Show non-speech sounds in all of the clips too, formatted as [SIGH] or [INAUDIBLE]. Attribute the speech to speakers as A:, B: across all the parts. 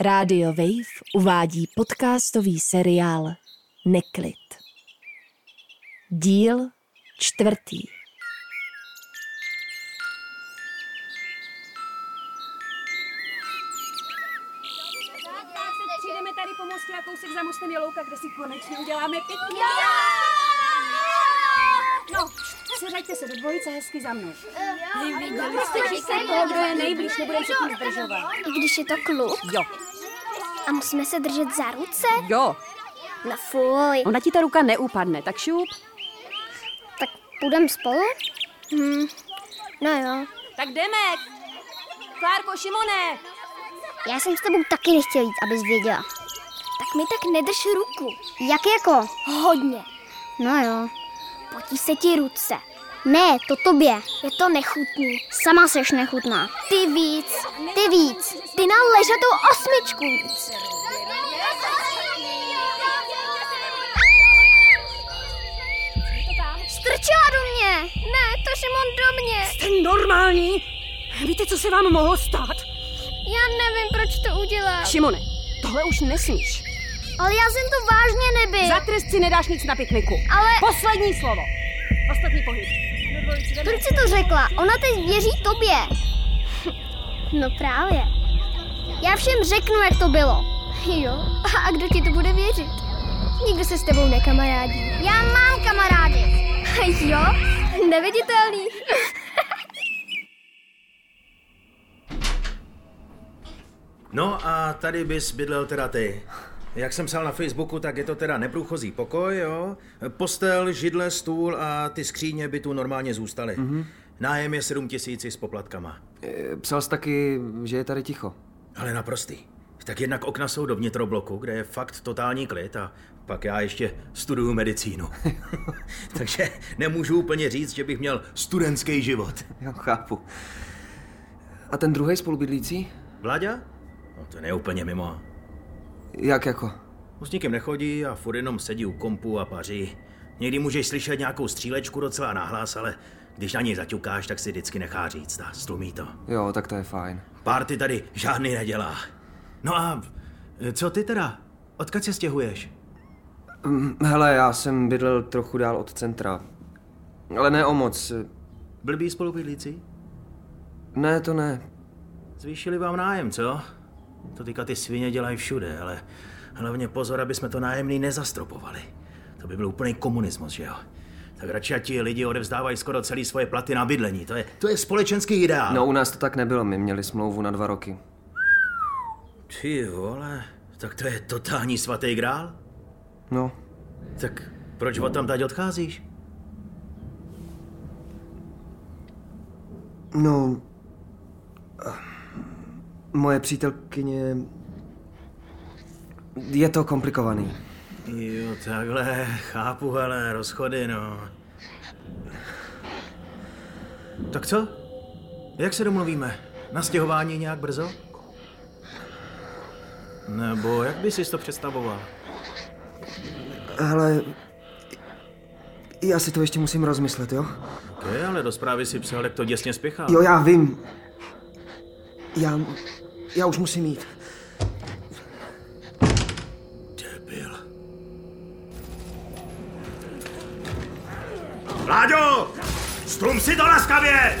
A: Rádio Wave uvádí podcastový seriál Neklid. Díl čtvrtý.
B: Tak teď přijdeme tady po mostu a kousek za mostem Jelouka, kde si konečně uděláme pěkný. No, seřaďte se do dvojice hezky za mnou. Prostě čekej toho, kdo je nejblíž, nebudeme se tím zdržovat.
C: I když je to kluk?
B: Jo.
C: A musíme se držet za ruce?
B: Jo,
C: No fuj.
B: ona ti ta ruka neupadne, tak šup.
C: Tak půjdem spolu? Hm. No jo.
B: Tak jdeme. Klárko, Šimone.
C: Já jsem s tebou taky nechtěl jít, abys věděla. Tak mi tak nedrž ruku. Jak jako? Hodně. No jo. Potí se ti ruce. Ne, to tobě. Je to nechutný. Sama seš nechutná. Ty víc, ty víc. Ty na ležatou osmičku víc. Strčila do mě. Ne, to Šimon do mě.
B: Jste normální. Víte, co se vám mohlo stát?
C: Já nevím, proč to udělal.
B: Šimone, tohle už nesmíš.
C: Ale já jsem to vážně nebyl.
B: Za trest si nedáš nic na pikniku.
C: Ale-
B: Poslední slovo. Ostatní pohyb. Do dvojice, jdeme.
C: Proč si to řekla? Ona teď věří tobě. [LAUGHS] No právě. Já všem řeknu, jak to bylo. Jo, a kdo ti to bude věřit? Nikdo se s tebou nekamarádí. Já mám kamarády. [LAUGHS] Jo, neviditelný.
D: No a tady bys bydlel teda ty. Jak jsem psal na Facebooku, tak je to teda neprůchozí pokoj, jo? Postel, židle, stůl a ty skříně by tu normálně zůstaly. Mm-hmm. Nájem je 7 tisíc s poplatkama.
E: E, Psal jsi taky, že je tady ticho.
D: Ale naprostý. Tak jednak okna jsou do vnitrobloku, kde je fakt totální klid a pak já ještě studuju medicínu. [LAUGHS] Takže nemůžu úplně říct, že bych měl studentský život.
E: Já chápu. A ten druhý spolubydlící?
D: Vláďa? No, to je úplně mimo.
E: Jak jako?
D: On s nikým nechodí a furt jenom sedí u kompu a paří. Někdy můžeš slyšet nějakou střílečku docela nahlas, ale když na něj zaťukáš, tak si vždycky nechá říct a stlumí to.
E: Jo, tak to je fajn.
D: Párty tady žádný nedělá. No a co ty teda? Odkud se stěhuješ?
E: Hm, Hele, já jsem bydlel trochu dál od centra. Ale ne o moc.
D: Blbí spolubydlíci?
E: Ne, to ne.
D: Zvýšili vám nájem, co? To teďka ty svině dělají všude, ale hlavně pozor, aby jsme to nájemný nezastropovali. To by byl úplný komunismus, že jo? Tak radši ať ti lidi odevzdávají skoro celý svoje platy na bydlení. To je, to je společenský ideál.
E: No, u nás to tak nebylo, my měli smlouvu na dva roky.
D: Ty vole, tak to je totální svatý grál?
E: No,
D: Tak proč od tam tady odcházíš?
E: no... Moje přítelkyně... Je to komplikovaný.
D: Jo, takhle, chápu, ale rozchody, no. Tak co? Jak se domluvíme? Na stěhování nějak brzo? Nebo jak bys si to představoval?
E: Ale... Já si to ještě musím rozmyslet, jo?
D: Ty, ale do zprávy si psal, jak to děsně spěchá.
E: Jo, já vím. Já, já už musím jít.
D: Debil. Vláďo! Stlum si to laskavě!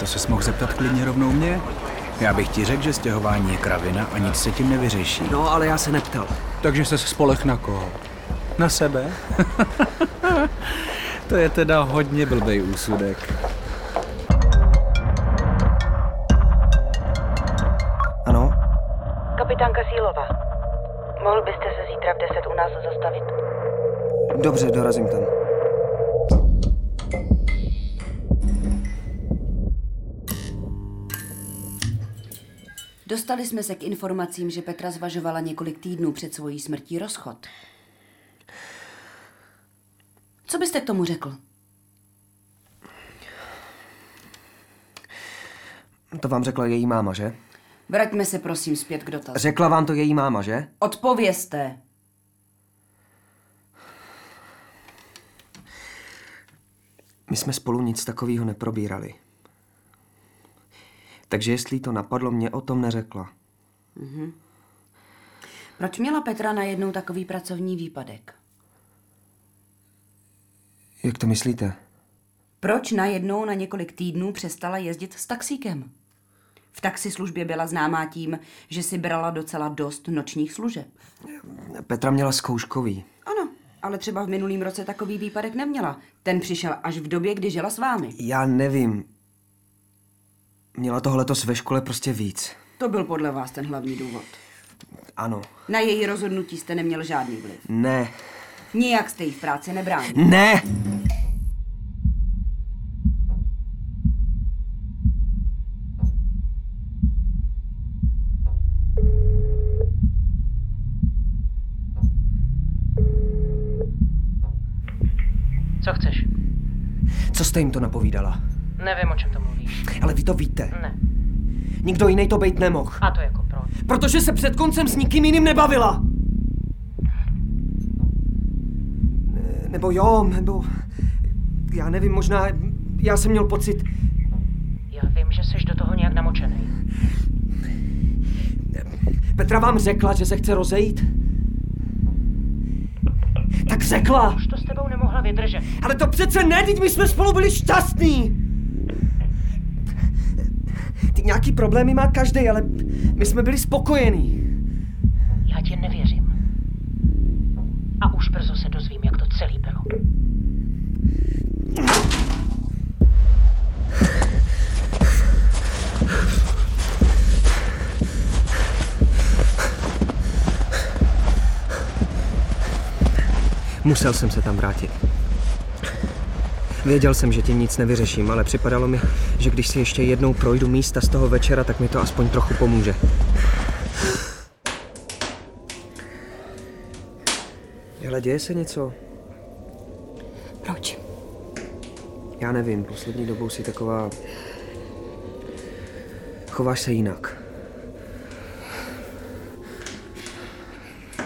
F: To se mohl zeptat klidně rovnou mě? Já bych ti řekl, že stěhování je kravina a nic se tím nevyřeší.
E: No, ale já se neptal.
F: Takže se spolech na koho? Na sebe? [LAUGHS] to je teda hodně blbej úsudek.
E: Ano?
G: Kapitánka Sílová, mohl byste se zítra v 10 u nás zastavit?
E: Dobře, dorazím tam.
H: Dostali jsme se k informacím, že Petra zvažovala několik týdnů před svojí smrtí rozchod. Co byste k tomu řekl?
E: To vám řekla její máma, že?
H: Vraťme se prosím zpět k dotazu.
E: Řekla vám to její máma, že?
H: Odpovězte.
E: My jsme spolu nic takového neprobírali. Takže jestli jí to napadlo, mě o tom neřekla.
H: Proč měla Petra najednou takový pracovní výpadek?
E: Jak to myslíte?
H: Proč najednou na několik týdnů přestala jezdit s taxíkem? V taxislužbě byla známá tím, že si brala docela dost nočních služeb.
E: Petra měla zkouškový.
H: Ano, ale třeba v minulém roce takový výpadek neměla. Ten přišel až v době, kdy žila s vámi.
E: Já nevím. Měla to letos ve škole prostě víc.
H: To byl podle vás ten hlavní důvod.
E: Ano.
H: Na její rozhodnutí jste neměl žádný vliv.
E: Ne.
H: Nijak jste jí v práci nebránil.
E: Ne!
G: Co chceš?
E: Co jste jim to napovídala?
G: Nevím, o čem to mluvíš.
E: Ale vy to víte.
G: Ne.
E: Nikdo jiný to bejt nemohl.
G: A to jako proč?
E: Protože se před koncem s nikým jiným nebavila. Ne- Nebo jo, nebo... Já nevím, možná... Já jsem měl pocit...
G: Já vím, že jsi do toho nějak namočený.
E: Petra vám řekla, že se chce rozejít? Tak řekla!
G: Už to s tebou nemohla vydržet.
E: Ale to přece ne, teď my jsme spolu byli šťastní! Ty nějaký problémy má každý, ale my jsme byli spokojení.
G: Já ti nevěřím. A už brzo se dozvím, jak to celý bylo.
E: Musel jsem se tam vrátit. Věděl jsem, že tím nic nevyřeším, ale připadalo mi, že když si ještě jednou projdu místa z toho večera, tak mi to aspoň trochu pomůže. Hele, děje se něco?
H: Proč?
E: Já nevím, poslední dobou si taková... Chováš se jinak.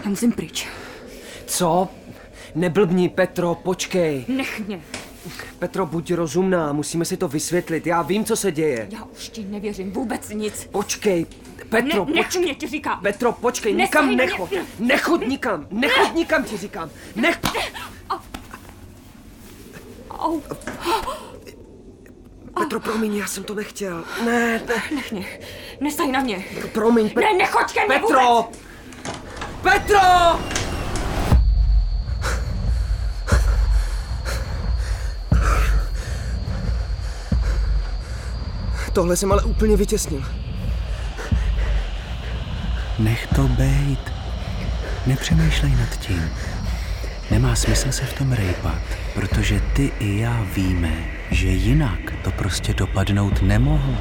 H: Já musím pryč.
E: Co? Neblbni, Petro, počkej.
H: Nech mě.
E: Petro, buď rozumná, musíme si to vysvětlit. Já vím, co se děje.
H: Já už ti nevěřím vůbec nic.
E: Počkej, Petro,
H: nech mě, ti říkám.
E: Petro, počkej,
H: Nesahej
E: nikam
H: na mě.
E: nechod. Nechod nikam, nechod nikam, ti říkám. Nech...
H: Au.
E: Petro, promiň, já jsem to nechtěl. Ne, ne,
H: Nech mě. Nestaj na mě.
E: promiň, Petro.
H: Ne, nechoď ke mně
E: Petro!
H: vůbec!
E: Petro! Tohle jsem ale úplně vytěsnil.
F: Nech to bejt. Nepřemýšlej nad tím. Nemá smysl se v tom rejpat, protože ty i já víme, že jinak to prostě dopadnout nemohlo.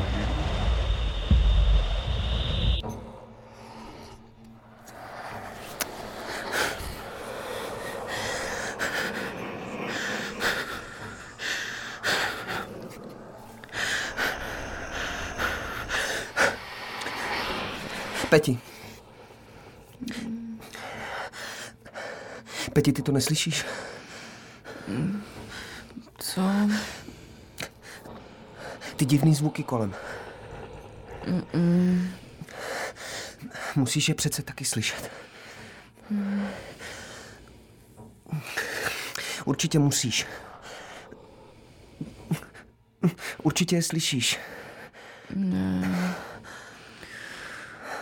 E: Peti. Peti, ty to neslyšíš?
I: Co?
E: Ty divný zvuky kolem. Mm-mm. Musíš je přece taky slyšet. Určitě musíš. Určitě je slyšíš.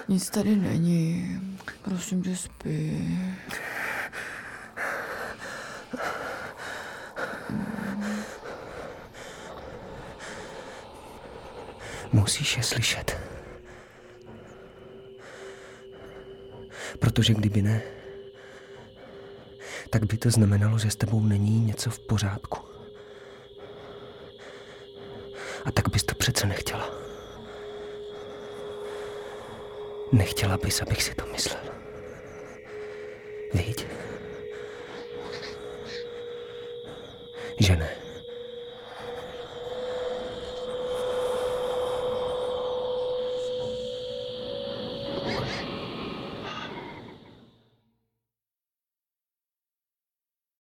I: Nic tady není. Prosím tě, spí.
E: Musíš je slyšet. Protože kdyby ne, tak by to znamenalo, že s tebou není něco v pořádku. A tak bys to přece nechtěla. Nechtěla bys, abych si to myslel. Víď? Že ne.